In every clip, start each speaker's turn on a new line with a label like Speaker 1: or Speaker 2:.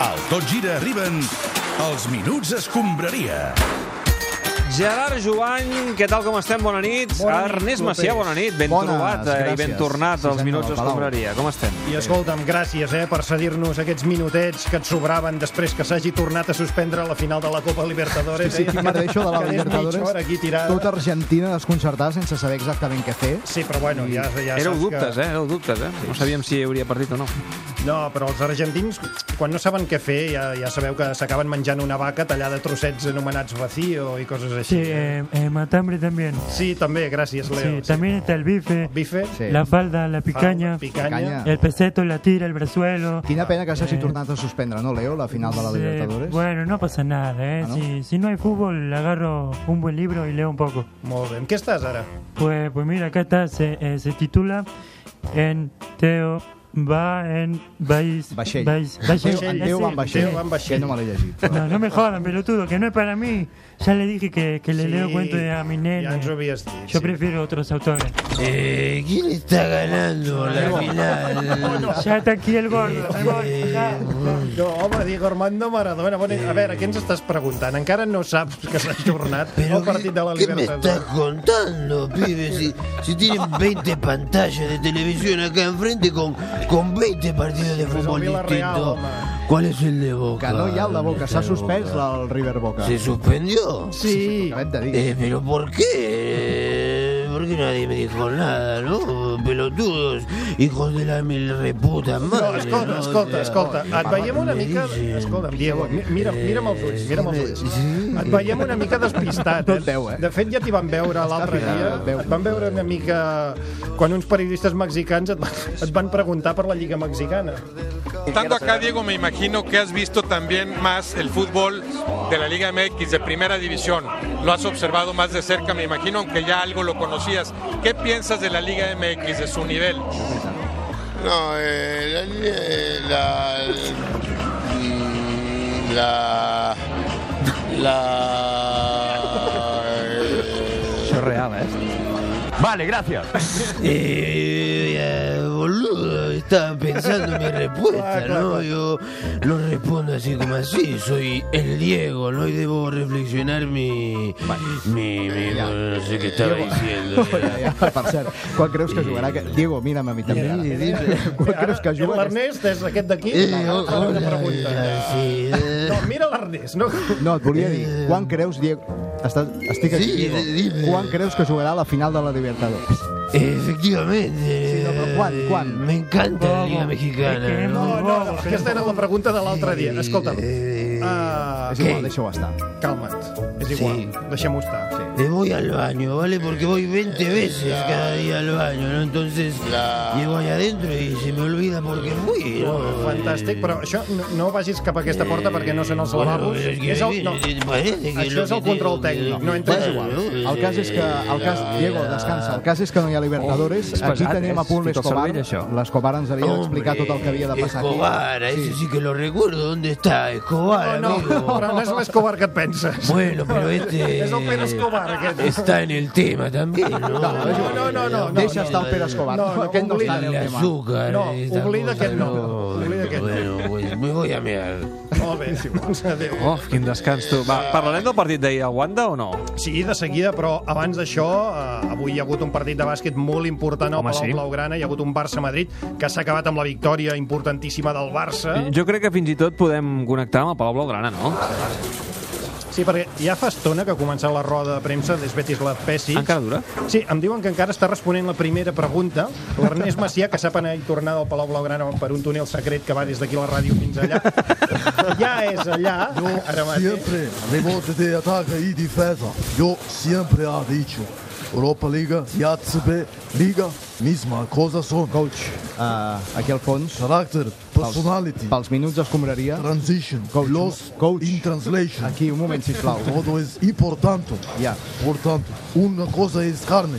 Speaker 1: Al Tot Gira arriben els Minuts Escombraria.
Speaker 2: Gerard Joan, què tal com estem? Bona nit. Ah,
Speaker 3: Bona nit,
Speaker 2: Ernest
Speaker 3: López.
Speaker 2: Macià, bona nit. Ben
Speaker 4: Bones,
Speaker 2: trobat eh, i ben
Speaker 4: gràcies.
Speaker 2: tornat
Speaker 4: Sí,
Speaker 2: als
Speaker 4: senyor,
Speaker 2: Minuts
Speaker 4: al Palau.
Speaker 2: Escombraria. Com estem?
Speaker 3: I escolta'm, gràcies eh, per cedir-nos aquests minutets que et sobraven després que s'hagi tornat a suspendre la final de la Copa Libertadores.
Speaker 4: Sí, sí, aquí mateix, de la
Speaker 3: Quedés mitja hora
Speaker 4: Libertadores.
Speaker 3: aquí tirada.
Speaker 4: Tota Argentina desconcertada sense saber exactament què fer.
Speaker 3: Sí, però bueno, ja, ja
Speaker 2: Éreu
Speaker 3: saps
Speaker 2: dubtes,
Speaker 3: que...
Speaker 2: eh? Éreu dubtes, eh? No sabíem si hi hauria partit o no.
Speaker 3: No, però els argentins, quan no saben què fer, ja, ja sabeu que s'acaben menjant una vaca tallada a trossets anomenats vacío i coses
Speaker 5: Sí,
Speaker 3: així.
Speaker 5: eh, eh, matambre también.
Speaker 3: sí també, gràcies,
Speaker 5: Sí,
Speaker 3: Leo.
Speaker 5: también está el bife,
Speaker 3: Bife,
Speaker 4: Sí.
Speaker 5: la falda, la picaña, Eh,
Speaker 3: falda, picanya.
Speaker 4: Picanya.
Speaker 5: el peseto, la tira, el brazuelo.
Speaker 4: Quina pena que s'hagi tornat a suspendre, no, Leo, la final de la
Speaker 5: Eh,
Speaker 4: Libertadores?
Speaker 5: bueno, no pasa nada, ¿eh?
Speaker 4: Ah, ¿no?
Speaker 5: Si, si no hay fútbol, agarro un buen libro y leo un poco.
Speaker 3: Molt bé. En què estàs ara?
Speaker 5: Pues, pues mira, acá está, se, eh, se titula En Teo va en Baix.
Speaker 4: Vaixell.
Speaker 5: Baix- Vaixell.
Speaker 4: Teo, en
Speaker 5: Ese-
Speaker 4: Teo van vaixell.
Speaker 3: Teo van vaixell.
Speaker 4: Que no me l'he llegit. però-
Speaker 5: No, no me jodan, pelotudo, que no es para mí. Ya le dije que, que le leo cuentos de a mi nene.
Speaker 3: Ja ens ho havies dit.
Speaker 5: Yo prefiero otros autores.
Speaker 6: Eh, ¿Quién está ganando la final?
Speaker 5: Ya está aquí el gordo. el gordo, ya.
Speaker 3: No, home, Diego Armando Maradona. Bueno, a veure, què ens estàs preguntant? Encara no saps que s'ha tornat
Speaker 6: Pero
Speaker 3: el partit de la
Speaker 6: ¿qué, qué me estás
Speaker 3: Libertadores.
Speaker 6: contando, pibe? Si, si tienen 20 pantallas de televisión acá enfrente con, con 20 partidos de
Speaker 3: Resolví
Speaker 6: fútbol
Speaker 3: la Real,
Speaker 6: distintos.
Speaker 3: hombre.
Speaker 6: ¿Cuál es el de Boca?
Speaker 4: Que no hi ha el de Boca, s'ha
Speaker 6: ¿Dónde está el
Speaker 4: suspès
Speaker 6: de Boca?
Speaker 4: el River Boca.
Speaker 6: ¿Se suspendió?
Speaker 3: Sí,
Speaker 4: Acabem de dir.
Speaker 6: Eh, pero ¿por qué? Eh, ¿Por qué nadie me dijo nada, no? Pelotudos, hijos de la mil reputa
Speaker 3: no,
Speaker 6: madre.
Speaker 3: escolta,
Speaker 6: ¿no?
Speaker 3: escolta,
Speaker 6: O sea,
Speaker 3: escolta. Et veiem una mica... Escolta'm, Diego, mi- mira, mira'm els ulls,
Speaker 6: Eh,
Speaker 3: mira'm els ulls. Et veiem una mica despistat.
Speaker 4: Tot deu, eh?
Speaker 3: De fet, ja t'hi vam veure l'altre
Speaker 4: Està
Speaker 3: dia.
Speaker 4: ficat, veu.
Speaker 3: Et van veure una mica... Quan uns periodistes mexicans et van, et van preguntar per la Lliga Mexicana.
Speaker 7: Estando acá, Diego, me imagino que has visto también más el fútbol de la Liga MX de Primera División. Lo has observado más de cerca, me imagino, aunque ya algo lo conocías. ¿Qué piensas de la Liga MX, de su nivel?
Speaker 6: No, eh, la, la, la,
Speaker 4: Això és real, eh?
Speaker 6: Eh, boludo, estaba pensando mi
Speaker 4: Ah,
Speaker 6: respuesta, ¿no? Yo lo respondo así como así, soy el Diego, ¿no? Y debo reflexionar mi... mi, mi no sé qué estaba diciendo.
Speaker 4: Ja, per cert, quan creus que jugarà? aquest- Diego, mira'm a mi també.
Speaker 3: eh,
Speaker 4: ara. Quan creus que juga? aquest-
Speaker 3: L'Ernest és aquest d'aquí?
Speaker 6: Eh,
Speaker 3: No,
Speaker 6: hola,
Speaker 3: no,
Speaker 6: eh,
Speaker 3: pregunta.
Speaker 6: sí, eh.
Speaker 3: no mira l'Ernest, no?
Speaker 4: No, et volia dir, quan creus, Diego... Estàs, estic aquí,
Speaker 6: Sí,
Speaker 4: Diego.
Speaker 6: dime.
Speaker 4: Quan creus que jugarà la final de la Libertadores?
Speaker 6: Efectivamente.
Speaker 4: Sí, no, pero ¿cuál, cuál?
Speaker 6: Eh, Me encanta la Liga
Speaker 5: Vamos, es que
Speaker 6: Mexicana.
Speaker 5: hemos-
Speaker 6: ¿no?
Speaker 3: No, no, no, aquesta era la pregunta de l'altre dia. Escolta'm,
Speaker 6: Eh,
Speaker 3: uh,
Speaker 4: És igual,
Speaker 6: Què?
Speaker 4: deixa-ho estar.
Speaker 3: calma't, és igual,
Speaker 6: Sí.
Speaker 3: deixem-ho estar. Sí. Eh,
Speaker 6: Me voy al baño, ¿vale? Porque voy 20 veces cada día al baño, ¿no? Entonces llego allá adentro y se me olvida porque fui, ¿no? eh.
Speaker 3: Fantàstic, però això no, no vagis cap a aquesta porta perquè no són els
Speaker 6: Bueno,
Speaker 3: lavabos.
Speaker 6: pero es que
Speaker 3: És el, no,
Speaker 6: eh, parece que
Speaker 3: això
Speaker 6: lo
Speaker 3: és
Speaker 6: que
Speaker 3: el control
Speaker 6: tengo que-
Speaker 3: tècnic, no
Speaker 4: Però és
Speaker 3: entres
Speaker 4: igual.
Speaker 6: Eh,
Speaker 4: El cas és que... El cas, Diego, descansa. El cas és que no hi ha Libertadores.
Speaker 8: és
Speaker 4: Aquí
Speaker 8: pesat,
Speaker 4: tenim a
Speaker 8: eh?
Speaker 4: punt
Speaker 8: Fica el
Speaker 4: l'Escobar.
Speaker 8: cervell, això.
Speaker 4: L'Escobar ens havia d'explicar tot el que havia de passar
Speaker 6: Escobar, a
Speaker 4: aquí.
Speaker 6: ese sí que lo recuerdo. ¿Dónde está Escobar,
Speaker 3: No,
Speaker 6: amigo?
Speaker 3: no, però no és l'Escobar que et penses.
Speaker 6: Bueno, pero este...
Speaker 3: Es don Pedro Escobar, aquest.
Speaker 6: Está en el tema también, ¿no? No,
Speaker 3: no, no, no, no, no.
Speaker 4: Deixa estar el Pere Escobar.
Speaker 3: No, no,
Speaker 4: Aquest no està en
Speaker 6: El
Speaker 4: el tema.
Speaker 6: azúcar.
Speaker 3: No,
Speaker 6: esta
Speaker 3: oblida
Speaker 6: cosa,
Speaker 3: que no. Oblida que
Speaker 6: Bueno,
Speaker 3: no.
Speaker 6: pues me voy a mear.
Speaker 3: Molt bé, doncs adéu.
Speaker 2: Oh, quin descans, tu. Va, parlarem del partit d'ahir a Wanda o no?
Speaker 3: Sí, de seguida, però abans d'això, eh, avui hi ha hagut un partit de bàsquet molt important al
Speaker 2: Home,
Speaker 3: Palau
Speaker 2: sí.
Speaker 3: Blaugrana, hi ha hagut un Barça-Madrid que s'ha acabat amb la victòria importantíssima del Barça.
Speaker 2: Jo crec que fins i tot podem connectar amb el Palau Blaugrana, no?
Speaker 3: Sí, perquè ja fa estona que ha començat la roda de premsa d'Esbetis la Pessic.
Speaker 2: Encara dura?
Speaker 3: Sí, em diuen que encara està responent la primera pregunta. L'Ernest Macià, que sap anar i tornar del Palau Blaugrana per un túnel secret que va des d'aquí a la ràdio fins allà. Ja Ah, és allà, ara mateix.
Speaker 9: Siempre rebote de ataque y defensa. Yo siempre ha dicho. Europa Liga y ACB Liga, misma cosa son.
Speaker 4: Coach, eh, aquí al fons,
Speaker 9: Carácter, personality,
Speaker 4: pels minuts escombraria.
Speaker 9: transition,
Speaker 4: Coach,
Speaker 9: loss
Speaker 4: coach.
Speaker 9: in translation.
Speaker 4: Aquí, un moment, sisplau.
Speaker 9: Todo es importante.
Speaker 4: Ya.
Speaker 9: Por tanto, una cosa es carne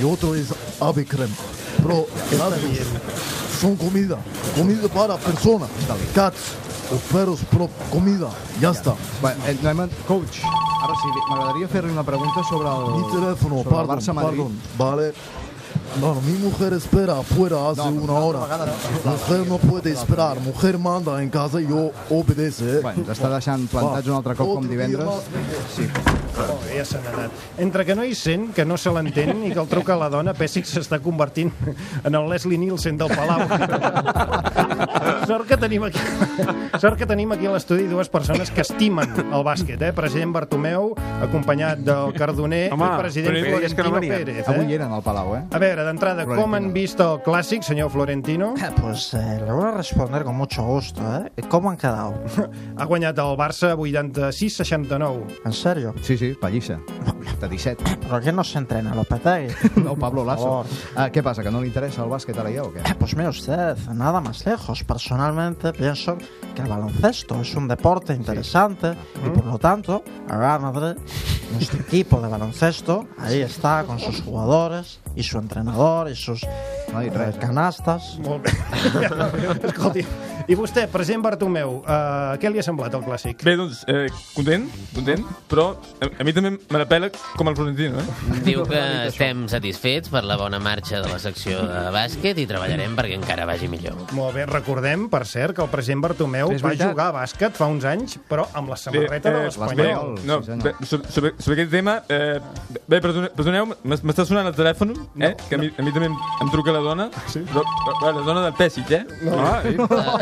Speaker 9: y otro es ave crema. Pero las dos son comida. Comida para personas. Cats o perros, pero comida. Ya está.
Speaker 4: Bé, eh, no hem... Coach, ara sí, m'agradaria fer-li una pregunta sobre el...
Speaker 9: Mi teléfono,
Speaker 4: sobre el
Speaker 9: perdón,
Speaker 4: Barça-Madrid.
Speaker 9: perdón. Vale. No, mi mujer espera afuera hace una hora. Mujer no puede esperar. Mujer manda en casa y yo obedece. eh.
Speaker 4: Bueno, ens està deixant plantats un altre cop com
Speaker 9: Otro día
Speaker 4: divendres.
Speaker 9: más.
Speaker 3: Oh, ja se n'ha anat. Entre que no hi sent, que no se l'entén i que el truca a la dona, Pessic s'està convertint en el Leslie Nielsen del Palau. sort que tenim aquí sort que tenim aquí a l'estudi dues persones que estimen el bàsquet, eh? President Bartomeu, acompanyat del Cardoner
Speaker 10: Home,
Speaker 3: i president
Speaker 10: però és que no
Speaker 3: Florentino
Speaker 10: venien.
Speaker 3: Pérez.
Speaker 4: Avui
Speaker 3: Eh?
Speaker 4: eren al Palau, eh?
Speaker 3: A veure, d'entrada, com han vist el clàssic, senyor Florentino?
Speaker 11: Pues eh, le voy a responder con mucho gusto, ¿eh? ¿Cómo han quedado?
Speaker 3: Ha guanyat el Barça 86-69.
Speaker 11: ¿En serio?
Speaker 4: Sí, sí, pallissa. De 17.
Speaker 11: ¿Por qué no se entrena, Lopetegui?
Speaker 4: No, Pablo Lasso. Ah, què passa, que no li interessa el bàsquet ara ja o què?
Speaker 11: Pues mire usted, nada más lejos. Personalmente pienso que el baloncesto es un deporte interesante y por lo tanto, a la madre, nuestro equipo de baloncesto ahí está con sus jugadores y su entrenador y sus
Speaker 4: No
Speaker 11: eh,
Speaker 4: dit res. Eh?
Speaker 11: canastas.
Speaker 3: Molt bé. Escolti, i vostè, president Bartomeu, eh, què li ha semblat el clàssic?
Speaker 12: Bé, doncs, eh, content, content, però a, a mi també me la pela com el Florentino, eh?
Speaker 13: Diu que estem satisfets per la bona marxa de la secció de bàsquet i treballarem perquè encara vagi millor.
Speaker 3: Molt bé, recordem, per cert, que el president Bartomeu
Speaker 4: És
Speaker 3: va
Speaker 4: veritat.
Speaker 3: jugar a bàsquet fa uns anys, però amb la
Speaker 12: Bé,
Speaker 3: samarreta de
Speaker 12: bé,
Speaker 3: l'Espanyol.
Speaker 4: l'Espanyol,
Speaker 12: no,
Speaker 4: sí, senyor.
Speaker 12: bé, sobre, sobre, sobre aquest tema, eh, bé, perdone- perdoneu, m'es- m'està sonant el telèfon, eh? que a mi, a mi també em, em truca la dona, sí? però, però, la dona del Pèssic, eh? No. Ah, eh?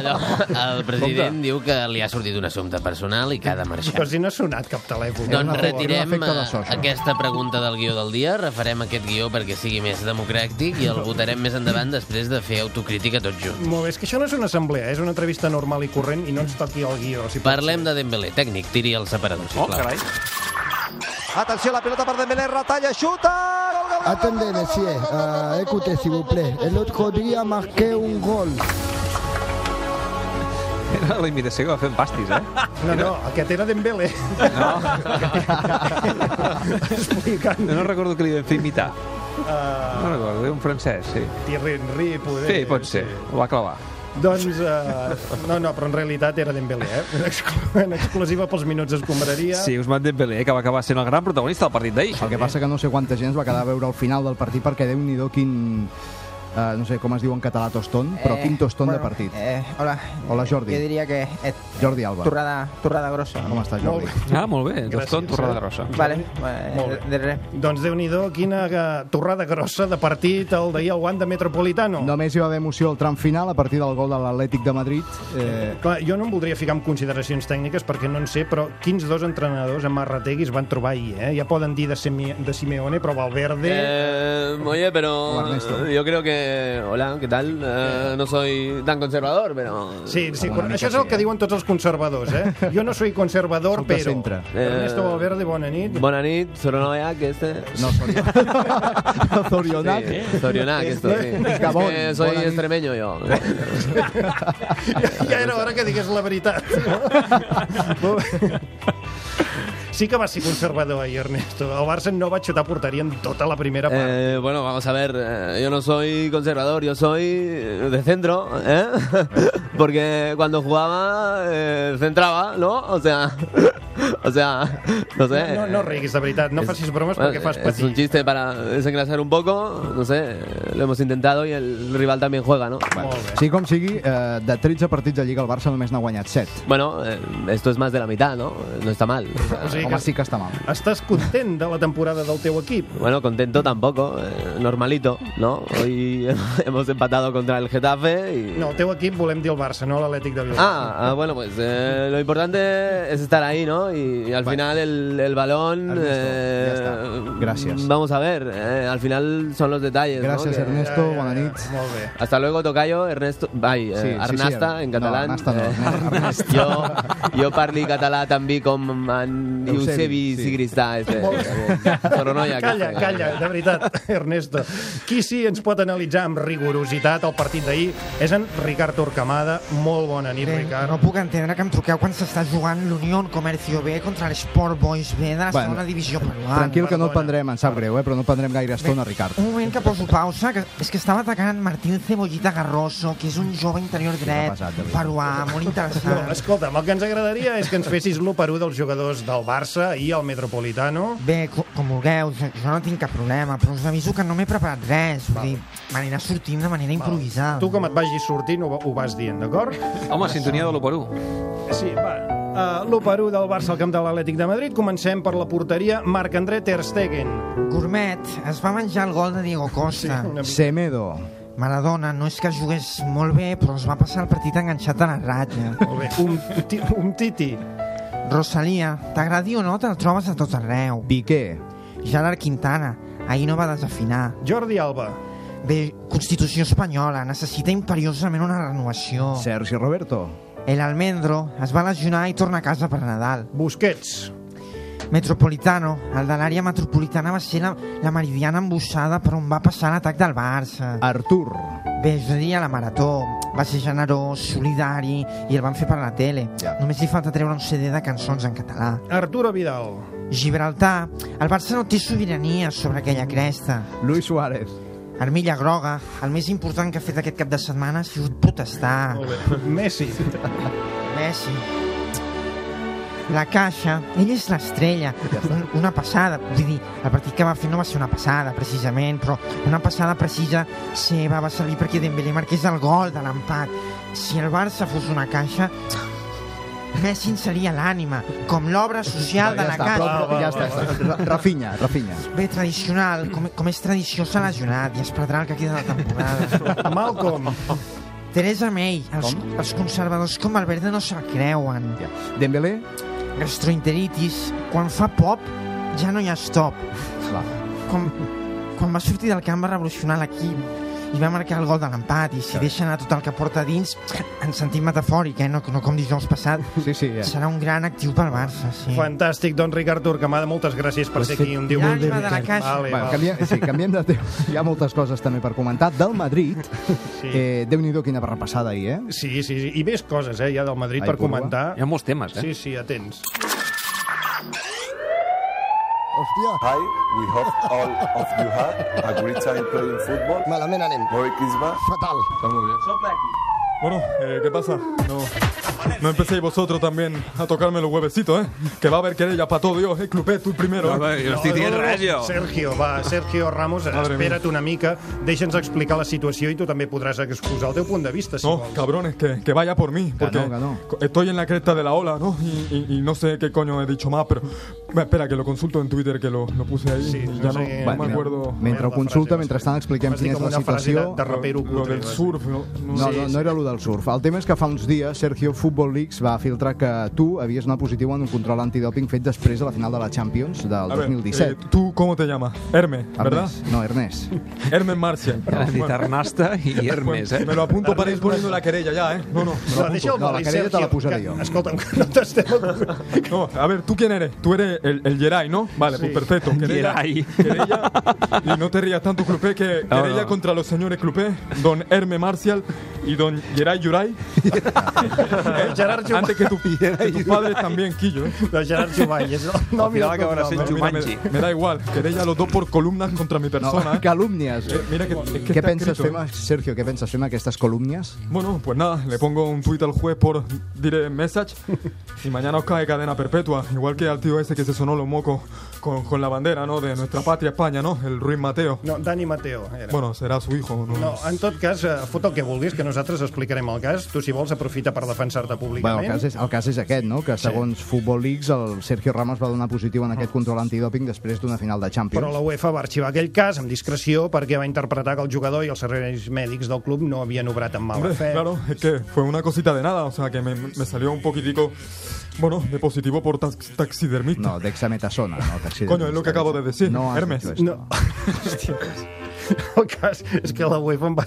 Speaker 13: Allò, el president diu que li ha sortit un assumpte personal i que ha de marxar.
Speaker 3: Però si no ha sonat cap telèfon.
Speaker 4: un
Speaker 13: Doncs
Speaker 4: efecte-
Speaker 13: retirem
Speaker 4: era un efecte de
Speaker 13: eh,
Speaker 4: sos, no?
Speaker 13: aquesta pregunta del guió del dia, refarem aquest guió perquè sigui més democràtic i el votarem més endavant després de fer autocrítica tots junts.
Speaker 3: Molt bé, és que això no és una assemblea, eh? és una entrevista normal i corrent i no ens toqui el guió. Si pot
Speaker 13: Parlem de Dembélé, tècnic, tiri el separador, sisplau. Oh, carai.
Speaker 10: Atenció, la pilota per Dembélé, retalla, xuta! Gol, gol, gol!
Speaker 14: Attendez, messieurs, euh, écoutez s'il vous plaît. L'autre dia a marqué un gol.
Speaker 10: Era la imitació que va fer en Pastis, eh?
Speaker 3: ser. No, no, aquest era Dembélé. No. Explicant.
Speaker 10: No recordo que li vam fer imitar.
Speaker 3: Uh,
Speaker 10: No recordo, era un francès, sí.
Speaker 3: Thierry Henry, poder...
Speaker 10: Sí, pot ser. Ho va clavar.
Speaker 3: Doncs, uh, no, no, però en realitat era Dembélé, eh? En exclu- En exclusiva pels minuts escombraria.
Speaker 10: Sí, Usman Dembélé, que va acabar sent el gran protagonista del partit d'ahir.
Speaker 4: El que passa que no sé quanta gent es va quedar a veure el final del partit perquè déu-n'hi-do quin... Eh, no sé com es diu en català tostón, però
Speaker 11: Eh,
Speaker 4: quin tostón de
Speaker 11: bueno,
Speaker 4: partit.
Speaker 11: eh, hola.
Speaker 4: Hola, Jordi.
Speaker 11: Yo diría que es
Speaker 4: Jordi Alba.
Speaker 11: turrada, turrada grossa.
Speaker 4: Com està, Jordi?
Speaker 10: Ah, molt bé, Tostón, torrada grossa.
Speaker 11: Vale, eh,
Speaker 3: Molt bé.
Speaker 11: de- de res.
Speaker 3: Doncs déu-n'hi-do, quina eh, torrada grossa de partit el d'ahir al Wanda Metropolitano.
Speaker 4: Només hi va haver emoció al tram final a partir del gol de l'Atlètic de Madrid. Eh,
Speaker 3: Clar, jo no em voldria ficar en consideracions tècniques perquè no en sé, però quins dos entrenadors amb Arrategui es van trobar ahir, eh? Ja poden dir de, Simi de Simeone, però Valverde...
Speaker 13: Eh, oye, pero eh, yo creo que... Hola, ¿qué tal? Eh, no soy tan conservador, pero...
Speaker 3: Sí,
Speaker 4: Alguna
Speaker 3: sí, però
Speaker 4: mica
Speaker 3: això és el
Speaker 4: sí,
Speaker 3: que
Speaker 4: eh?
Speaker 3: diuen tots els conservadors, eh? Jo no soy conservador,
Speaker 4: Sóc de
Speaker 3: però...
Speaker 4: centre.
Speaker 3: Ernesto Valverde, bona nit.
Speaker 13: Bona nit, Soronaya, que este...
Speaker 4: No, Sorionac. Sorionac.
Speaker 13: Sí, Sorionac, esto, sí. Es
Speaker 4: Gabón,
Speaker 13: que soy
Speaker 4: bona nit.
Speaker 13: extremeño yo.
Speaker 3: Ja era hora que digués la veritat. Molt bé. Sí que va ser conservador ahir, Ernesto. El Barça no va xutar porteria en tota la primera part.
Speaker 13: Eh, bueno, vamos a ver, eh, yo no soy conservador, yo soy eh, de centro, ¿eh? Porque cuando jugaba, eh, centraba, ¿no? O sea, o sea, no sé. eh,
Speaker 3: No, no riguis, de veritat. No
Speaker 13: Es-
Speaker 3: facis bromes
Speaker 13: bueno,
Speaker 3: perquè fas
Speaker 13: Es un
Speaker 3: patir.
Speaker 13: chiste para desengrasar un poco, no sé, lo hemos intentado y el rival también juega, ¿no?
Speaker 3: Molt bé.
Speaker 4: Sí, com sigui, eh, de 13 partits de Lliga el Barça només n'ha guanyat 7.
Speaker 13: Bueno, eh, esto es más de la mitad, ¿no? No está mal.
Speaker 3: O sigui
Speaker 4: Home,
Speaker 3: que
Speaker 4: sí que està mal.
Speaker 3: estàs content de la temporada del teu equip?
Speaker 13: Bueno, contento tampoco, eh, normalito, ¿no? Hoy hemos empatado contra el Getafe y...
Speaker 3: No, el teu equip volem dir el Barça, no l'Atlètic de Bilbao.
Speaker 13: Ah, ah, bueno, pues eh, lo importante es estar ahí, ¿no? Y, y al final el, el balón...
Speaker 4: Ernesto,
Speaker 13: eh,
Speaker 4: ya está. Gracias.
Speaker 13: Vamos a ver, eh, al final son los detalles. ¿no?
Speaker 4: Gràcies,
Speaker 13: Que- eh,
Speaker 4: Ernesto. Bona nit.
Speaker 3: Molt bé.
Speaker 13: Hasta luego, Tocayo, Ernesto... Ay, eh,
Speaker 4: Sí, sí, sí,
Speaker 13: Arnasta,
Speaker 4: Ar-
Speaker 13: en
Speaker 4: no,
Speaker 13: catalán.
Speaker 4: Arnasta no,
Speaker 13: Eh,
Speaker 4: Arnasta.
Speaker 13: yo, yo parli català també com en
Speaker 4: Eusebi,
Speaker 13: Eusebi
Speaker 4: sí.
Speaker 13: Sigristà. Este, Soronoia.
Speaker 3: Calla, calla, de veritat, Ernesto. Qui sí ens pot analitzar amb rigorositat el partit d'ahir és en Ricard Torquemada. Molt bona nit,
Speaker 11: Bé,
Speaker 3: Ricard.
Speaker 11: No puc entendre que em truqueu quan s'està jugant l'Unió Comercio Jové contra l'Sport Boys B de la
Speaker 4: Bueno,
Speaker 11: segona divisió peruana.
Speaker 4: Tranquil, que no el prendrem, em sap greu, eh? però no el prendrem gaire estona, Ricard.
Speaker 11: Un moment que poso pausa, que és que estava atacant Martín Cebollita Garroso, que és un jove interior dret, peruà, molt interessant.
Speaker 3: No, escolta'm, el que ens agradaria és que ens fessis l'1 per 1 dels jugadors del Barça i el Metropolitano.
Speaker 11: Bé, co- com vulgueu, jo jo no tinc cap problema, però us aviso que no m'he preparat res, vull dir, m'anirà sortint de manera improvisada.
Speaker 3: Tu com et vagis sortint ho, ho vas dient, d'acord?
Speaker 2: Home, sintonia de l'1
Speaker 3: Sí, va. Uh, l'1 per 1 del Barça al camp de l'Atlètic de Madrid. Comencem per la porteria Marc-André Ter Stegen.
Speaker 11: Gourmet es va menjar el gol de Diego Costa.
Speaker 4: Semedo.
Speaker 11: Maradona no és que jugués molt bé, però es va passar el partit enganxat a la ratlla.
Speaker 3: Molt bé. Un, ti, un titi.
Speaker 11: Rosalia, t'agradi o no, te'l trobes a tot arreu.
Speaker 4: Piqué.
Speaker 11: Gerard Quintana, ahir no va desafinar.
Speaker 3: Jordi Alba.
Speaker 11: Bé, Constitució Espanyola, necessita imperiosament una renovació.
Speaker 4: Sergi Roberto.
Speaker 11: El Almendro es va lesionar i torna a casa per Nadal.
Speaker 3: Busquets.
Speaker 11: Metropolitano, el de l'àrea metropolitana va ser la, la meridiana embussada per on va passar l'atac del Barça.
Speaker 4: Artur.
Speaker 11: Bé, és a dir, a la Marató. Va ser generós, solidari i el van fer per la tele. Només li falta treure un CD de cançons en català.
Speaker 3: Arturo Vidal.
Speaker 11: Gibraltar, el Barça no té sobirania sobre aquella cresta.
Speaker 4: Luis Suárez.
Speaker 11: Armilla Groga, el més important que ha fet aquest cap de setmana ha sigut protestar.
Speaker 3: Messi.
Speaker 11: Messi. La Caixa, ell és l'estrella, un- una passada, vull dir, el partit que va fer no va ser una passada, precisament, però una passada precisa seva va servir perquè Dembélé marqués el gol de l'empat. Si el Barça fos una caixa, Messi en seria l'ànima, com l'obra social de
Speaker 4: ja
Speaker 11: la
Speaker 4: està,
Speaker 11: caixa.
Speaker 4: prou, prou, ja està, ja està. Ra- Rafinha, Rafinha.
Speaker 11: Bé, tradicional, com, com és tradició, s'ha lesionat i es perdrà el que queda de la temporada.
Speaker 3: Malcolm.
Speaker 11: Teresa May, els, els conservadors com Valverde no se'l creuen.
Speaker 4: Ja. Dembélé?
Speaker 11: Gastroenteritis. Quan fa pop, ja no hi ha stop.
Speaker 4: Va.
Speaker 11: Com, quan va sortir del camp va revolucionar l'equip i va marcar el gol de l'empat i si deixa anar tot el que porta a dins en sentit metafòric, eh? no, no com dijous passat
Speaker 4: sí, sí,
Speaker 3: ja.
Speaker 11: serà un gran actiu pel Barça sí.
Speaker 3: Fantàstic, doncs Ricard Turcamada, moltes gràcies per
Speaker 4: Ho has
Speaker 3: ser
Speaker 4: fet
Speaker 3: aquí un
Speaker 4: molt bé,
Speaker 3: diumenge.
Speaker 4: Ànima de la
Speaker 11: caixa.
Speaker 3: Vale,
Speaker 4: Bueno,
Speaker 3: vale.
Speaker 4: canviem, sí, canviem de tema. Hi ha moltes coses també per comentar. Del Madrid,
Speaker 3: sí.
Speaker 4: eh, Déu-n'hi-do quina barrapassada ahir, eh?
Speaker 3: Sí, sí, sí. I més coses, eh, ja del Madrid
Speaker 4: Ai,
Speaker 3: per
Speaker 4: Curva.
Speaker 3: comentar.
Speaker 4: Hi ha molts temes, eh?
Speaker 3: Sí, sí, atents.
Speaker 6: Hòstia. Hi, we hope all of you had a great time playing football. Malament anem. Merry Christmas. Fatal.
Speaker 12: Está muy bien. Bueno, eh, ¿qué pasa? No, no empecéis vosotros también a tocarme los huevecitos, ¿eh? Que va a haber querella para todo Dios. Eh, Clupé, tú el primero. ¿eh?
Speaker 3: Sergio, va, Sergio Ramos,
Speaker 12: Madre
Speaker 3: espera't una mica, deixa'ns explicar la situació i tu també podràs exposar el teu punt de vista, si
Speaker 12: No,
Speaker 3: vols.
Speaker 12: cabrones, que, que vaya por mí. Porque co- estoy en la cresta de la ola, ¿no? Y, y- y no sé qué coño he dicho más, pero. Bueno, espera, que lo consulto en Twitter, que lo, lo puse ahí. y ya no, no
Speaker 4: Bueno,
Speaker 12: me acuerdo.
Speaker 4: Mentre ho consulta, mentrestant expliquem
Speaker 12: Vas dir
Speaker 4: quina és
Speaker 12: com
Speaker 4: la
Speaker 12: una frase
Speaker 4: situació.
Speaker 12: de- de rapero Lo- lo cutre, del vas dir. surf, no?
Speaker 4: No,
Speaker 12: Sí,
Speaker 4: no, no,
Speaker 12: sí.
Speaker 4: no era allò del surf. El tema és que fa uns dies Sergio Football Leaks va filtrar que tu havies anat positiu en un control antidoping fet després de la final de la Champions del
Speaker 12: A ver, eh,
Speaker 4: 2017.
Speaker 12: ¿Tú cómo te llamas? Hermes, ¿verdad?
Speaker 4: Ernest. No, Ernest.
Speaker 12: Hermes Marcia.
Speaker 2: Ja l'han dit Arnasta i Hermes, eh?
Speaker 12: Me lo apunto para ir poniendo la querella ya, ¿eh? No, no. me lo
Speaker 3: Va, deixa el
Speaker 12: apunto.
Speaker 3: Madrid, Sergio, que- Escolta'm, que no t'estem...
Speaker 12: No, a ver, ¿tú quién eres? Tú eres el, el Geray, ¿no? Vale,
Speaker 3: Sí.
Speaker 12: pues perfecto. Querella,
Speaker 2: Geray.
Speaker 12: querella- y no te rías tanto, Clupé, que
Speaker 2: No,
Speaker 12: querella
Speaker 2: no.
Speaker 12: contra los señores Clupé, don Herme Marcial y don Geray Yuray. Eh,
Speaker 3: Gerard Jumai.
Speaker 12: Antes que tu, que tu padre también, Quillo. ¿eh?
Speaker 3: No, Gerard Jumai, és el nom i el cognom, eh?
Speaker 12: Mira, me, me da igual, querella a los dos por columnas contra mi persona.
Speaker 4: No,
Speaker 12: ¿eh?
Speaker 4: calúmnies.
Speaker 12: Eh, mira que, es que
Speaker 4: Què
Speaker 12: está
Speaker 4: penses
Speaker 12: escrito,
Speaker 4: fer,
Speaker 12: ¿eh?
Speaker 4: amb- Sergio, què penses fer amb aquestes columnes?
Speaker 12: Bueno, pues nada, le pongo un tuit al juez por direct message y mañana os cae cadena perpetua, igual que al tío ese que se sonó los mocos con, con la bandera, ¿no? De nuestra patria España, ¿no? El Ruiz Mateo.
Speaker 3: No, Dani Mateo eh, era.
Speaker 12: Bueno, será su hijo, ¿no?
Speaker 3: No, en tot cas, eh, fot el que vulguis, que nosaltres explicarem el cas. Tu, si vols, aprofita per defensar-te
Speaker 4: Bueno,
Speaker 3: públicament.
Speaker 4: el cas, és, el cas és aquest, no? que segons Football Leagues el Sergio Ramos va donar positiu en aquest control antidoping després d'una final de Champions.
Speaker 3: Però la UEFA va arxivar aquell cas amb discreció perquè va interpretar que el jugador i els serveis mèdics del club no havien obrat amb mala
Speaker 12: Hombre,
Speaker 3: fe.
Speaker 12: claro, es que fue una cosita de nada, o sea que me, me salió un poquitico, bueno, de positivo por tax- taxidermista.
Speaker 4: No, dexametasona, no, taxidermista.
Speaker 12: Coño, es lo que acabo de decir,
Speaker 4: No has
Speaker 12: Hermes.
Speaker 4: dicho esto.
Speaker 3: No. Hòstia. El cas és que la UEFA en va,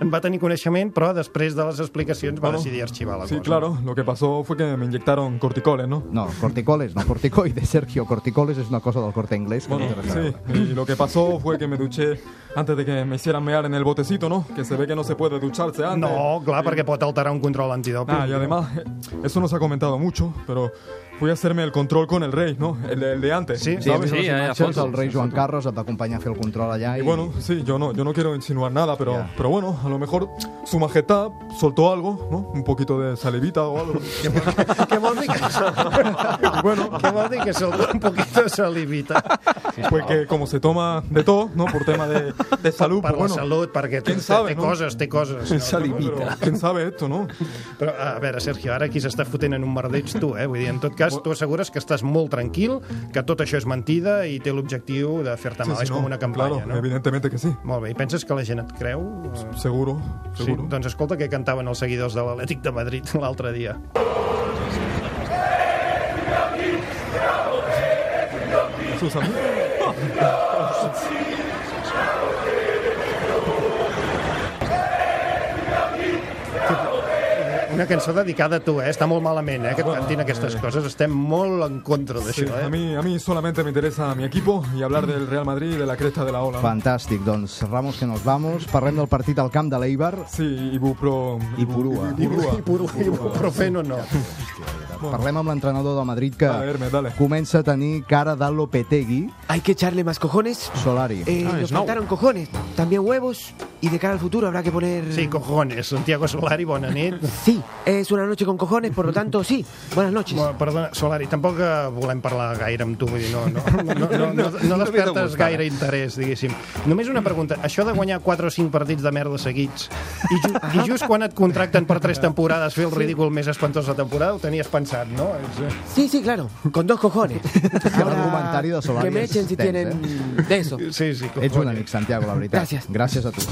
Speaker 3: en va tenir coneixement, però després de les explicacions va
Speaker 12: Bueno,
Speaker 3: decidir arxivar la
Speaker 12: Sí,
Speaker 3: cosa.
Speaker 12: claro, lo que pasó fue que me inyectaron corticoles, ¿no?
Speaker 4: No, corticoles, no, corticoides, Sergio. Corticoles és una cosa del corte anglès. Que
Speaker 12: Bueno,
Speaker 4: no té res a
Speaker 12: sí,
Speaker 4: veure.
Speaker 12: y lo que pasó fue que me duché antes de que me hicieran mear en el botecito, ¿no? Que se ve que no se puede ducharse antes.
Speaker 3: No, clar,
Speaker 12: Y-
Speaker 3: perquè pot alterar un control antidoping.
Speaker 12: Ah, y además, eh, eso no se ha comentado mucho, pero fui a hacerme el control con el rey, ¿no? El, el de antes.
Speaker 4: Sí, sí, sí, el rei Joan Carles et va acompanyar a fer el control allà. I,
Speaker 12: Y bueno, sí, yo no, yo no quiero insinuar nada, pero,
Speaker 4: Ya.
Speaker 12: pero bueno, a lo mejor su majestad soltó algo, ¿no? Un poquito de salivita o algo.
Speaker 3: Què vol dir que... bueno, què vol dir que solta un poquito de salivita?
Speaker 12: Pues que como se toma de todo, ¿no? Por tema de, de salud.
Speaker 3: Per
Speaker 12: pues
Speaker 3: la
Speaker 12: bueno,
Speaker 3: salut, perquè té,
Speaker 12: ¿quién
Speaker 3: té
Speaker 12: sabe, no?
Speaker 3: coses, té coses.
Speaker 12: Esa limita.
Speaker 3: Però-
Speaker 12: ¿Quién sabe esto, no?
Speaker 3: Però, a veure, Sergio, ara aquí s'està fotent en un merdeig tu, eh? Vull dir, en tot cas, tu assegures que estàs molt tranquil, que tot això és mentida i té l'objectiu de fer-te mal.
Speaker 12: Sí, sí,
Speaker 3: és
Speaker 12: no,
Speaker 3: com una campanya,
Speaker 12: claro,
Speaker 3: no?
Speaker 12: Evidentemente que sí.
Speaker 3: Molt bé, i penses que la gent et creu?
Speaker 12: Seguro, seguro.
Speaker 3: Sí? Doncs escolta què cantaven els seguidors de l'Atlètic de Madrid l'altre dia.
Speaker 13: Pues
Speaker 12: Sus amigos.
Speaker 3: Una cançó dedicada a tu, eh? Està molt malament, eh, que et cantin aquestes coses. Estem molt en contra
Speaker 12: Ah, Sí,
Speaker 3: d'això, eh?
Speaker 12: a, mí, a mí solamente me interesa mi equipo y hablar del Real Madrid y de la cresta de la ola.
Speaker 4: Fantàstic, doncs Ramos que nos vamos. Parlem del partit al camp de l'Eibar.
Speaker 12: Sí, Ibupro...
Speaker 4: Ipurua.
Speaker 12: Ipurua.
Speaker 3: Ipurua. Ibuprofeno no.
Speaker 4: Parlem amb l'entrenador del Madrid que
Speaker 12: Dale, Hermes, dale.
Speaker 4: comença a tenir cara de Lopetegui.
Speaker 15: Hay que echarle más cojones.
Speaker 4: Solari.
Speaker 15: Eh,
Speaker 3: Ah,
Speaker 15: nos faltaron cojones, también huevos y de cara al futuro habrá que poner...
Speaker 3: Sí, cojones. Santiago Solari, bona nit.
Speaker 15: Sí, es una noche con cojones, por lo tanto, sí. Buenas noches.
Speaker 3: Bueno, perdona, Solari, tampoc eh, volem parlar gaire amb tu, vull dir, no, no, no, no, no, no, no despertes gaire interès, diguéssim. Només una pregunta, això de guanyar 4 o 5 partits de merda seguits i, ju i just quan et contracten per 3 temporades fer el ridícul més espantós de la temporada, ho tenies pensat, no? És, eh?
Speaker 15: Sí, sí, claro, con dos cojones.
Speaker 4: Cada comentari de Solari
Speaker 15: que me
Speaker 4: és
Speaker 15: echen si
Speaker 4: tens,
Speaker 15: tienen
Speaker 4: eh?
Speaker 15: de eso.
Speaker 3: Sí, sí.
Speaker 4: Ets un amic, Santiago, la veritat.
Speaker 15: Gràcies.
Speaker 4: Gràcies a tu.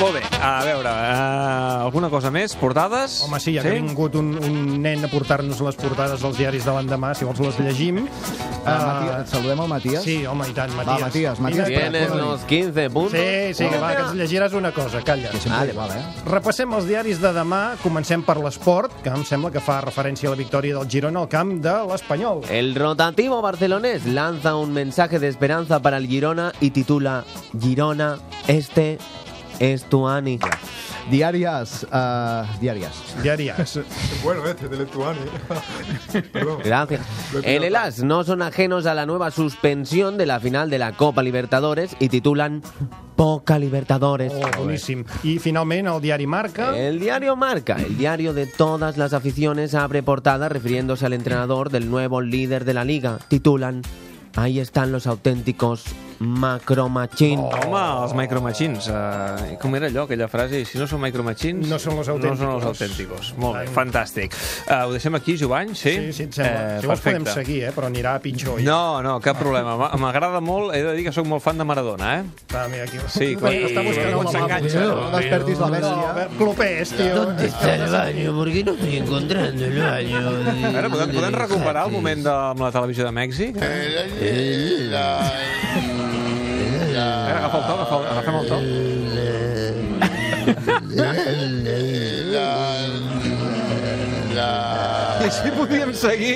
Speaker 2: Molt bé, a veure, uh, alguna cosa més? Portades?
Speaker 3: Home, sí, ja que ha vingut un, un nen a portar-nos les portades dels diaris de l'endemà, si vols les llegim. Uh,
Speaker 4: Ah, Mati- saludem al Matías.
Speaker 3: Sí, home, i tant, Matías.
Speaker 4: Va, Matías, Matías.
Speaker 3: Mira,
Speaker 4: Tienes los
Speaker 13: 15
Speaker 3: Sí, sí, que va, que ens llegiràs una cosa, calla.
Speaker 4: Que sempre li val, eh?
Speaker 3: Repassem els diaris de demà. Comencem per l'esport, que em sembla que fa referència a la victòria del Girona al camp de l'Espanyol.
Speaker 15: El rotativo barcelonés
Speaker 13: lanza un mensaje de esperanza para el Girona y titula Girona, este es tu Ani.
Speaker 4: Diàries. Uh, diàries.
Speaker 3: Diàries.
Speaker 12: Bueno, este del Estuani. Perdón.
Speaker 13: Gracias. El Elas no son ajenos a la nueva suspensión de la final de la Copa Libertadores y titulan Poca Libertadores.
Speaker 3: Oh, boníssim. I finalment el diari Marca.
Speaker 13: El diario Marca, el diario de todas las aficiones, abre portada refiriéndose al entrenador del nuevo líder de la liga. Titulan Ahí están los auténticos macromachín.
Speaker 2: Home, els micromachins. Uh, com era allò, aquella frase? Si no són micromachins...
Speaker 3: No són los auténticos.
Speaker 2: No són els autènticos. Molt bé, fantàstic. Uh, ho deixem aquí, Jovany, sí?
Speaker 3: Sí, sí, et sembla. Eh, si vols podem seguir, eh? però anirà a pitjor.
Speaker 2: No, no, cap problema. M'a- M'agrada molt, he de dir que sóc molt fan de Maradona, eh?
Speaker 3: Ah, mira, aquí.
Speaker 2: Sí, clar.
Speaker 3: Està
Speaker 2: Quan
Speaker 3: buscant la mà.
Speaker 2: s'enganxa.
Speaker 3: No despertis la bèstia. No, Clopés, tio.
Speaker 13: ¿Dónde está el baño? ¿Por qué no estoy encontrando el baño?
Speaker 2: A veure, podem, podem recuperar el moment de, amb la televisió de Mèxic? A veure, agafa el to, agafa, el- agafem el to.
Speaker 6: eh,
Speaker 2: I així podíem seguir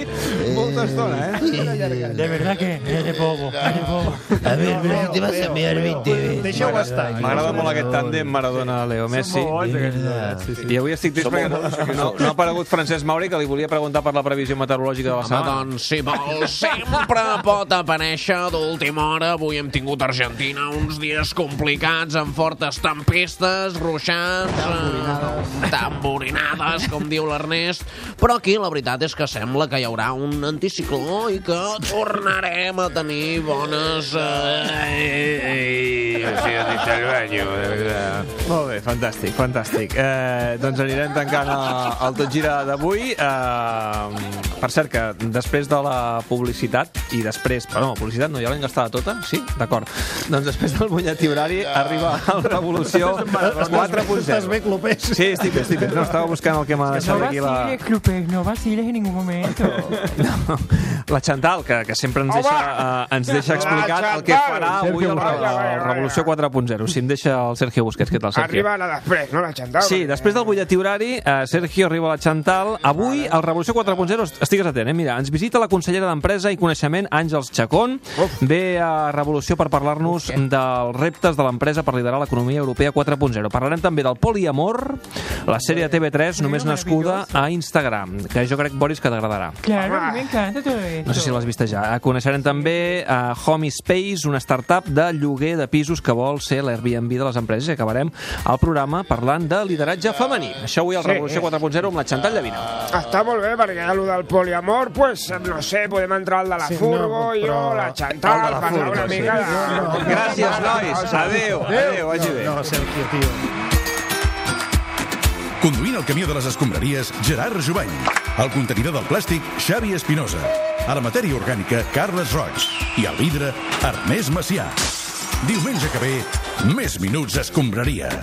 Speaker 2: molta estona, eh?
Speaker 5: De verdad que eres bobo, eres bobo.
Speaker 13: A ver, pero si te vas a mirar 20 veces.
Speaker 3: Deixa-ho estar.
Speaker 2: M'agrada molt aquest tàndem Maradona-Leo Messi. I avui estic trist perquè no, no, no ha aparegut Francesc Mauri, que li volia preguntar per la previsió meteorològica de la
Speaker 16: Home,
Speaker 2: setmana.
Speaker 16: doncs, si vol, sempre pot aparèixer d'última hora. Avui hem tingut a Argentina uns dies complicats, amb fortes tempestes, ruixats, eh, tamborinades, com diu l'Ernest. Però aquí la veritat és que sembla que hi haurà un anticicló i que tornarem a tenir bones... Eh, eh, eh,
Speaker 2: Molt bé, fantàstic, fantàstic. Eh, doncs anirem tancant el, el Tot Gira d'avui. Eh, per cert, que després de la publicitat, i després... Però no, publicitat no, ja l'hem gastada tota? Sí? D'acord. Doncs després del butlletí horari arriba el Revolució
Speaker 3: Estàs-
Speaker 2: 4.0.
Speaker 3: estàs bé, Clopés?
Speaker 2: Sí, estic bé, estic bé. No, estava buscant el que m'ha
Speaker 5: No
Speaker 2: deixat aquí la,
Speaker 5: vaciles, Clupes, eh. no vaciles en ningún momento.
Speaker 2: la Chantal, que, que sempre ens deixa, eh, ens deixa explicat el que farà avui el, el Revolució 4.0. Si em deixa el Sergio Busquets, què tal, Sergio?
Speaker 17: Arriba la després, no la xandava.
Speaker 2: Sí, després del butlletí horari, eh, Sergio arriba a la Chantal. Avui, el Revolució 4.0 es- estigues atent, eh? Mira, ens visita la consellera d'Empresa i Coneixement, Àngels Chacón. Ve a Revolució per parlar-nos dels reptes de l'empresa per liderar l'economia europea 4.0. Parlarem també del poliamor, la sèrie de TV3 només nascuda a Instagram, que jo crec, Boris, que t'agradarà.
Speaker 17: Claro, me encanta todo esto.
Speaker 2: No sé si l'has vist ja. Eh, Coneixerem també a Home Space, una startup de lloguer de pisos que vol ser l'Airbnb de les empreses i acabarem el programa parlant de lideratge femení. Això avui al
Speaker 18: Sí.
Speaker 2: Revolució 4.0 amb la Chantal Llavina.
Speaker 18: Està molt bé, perquè allò del poliamor, pues, no sé, podem entrar al de la
Speaker 2: Sí, no,
Speaker 18: Furgo,
Speaker 2: però-
Speaker 18: jo, la Chantal,
Speaker 2: El de la
Speaker 18: parlar
Speaker 2: Furgo,
Speaker 18: una
Speaker 2: sí.
Speaker 18: mica...
Speaker 2: No, no.
Speaker 18: De...
Speaker 2: Gràcies, nois. Adéu, adéu, vagi bé.
Speaker 3: No, no, Sergio, tio.
Speaker 1: Conduint el camió de les escombraries, Gerard Jubany. El contenidor del plàstic, Xavi Espinosa. A la matèria orgànica, Carles Roig. I al vidre, Ernest Macià. Diumenge que ve, més minuts escombraria.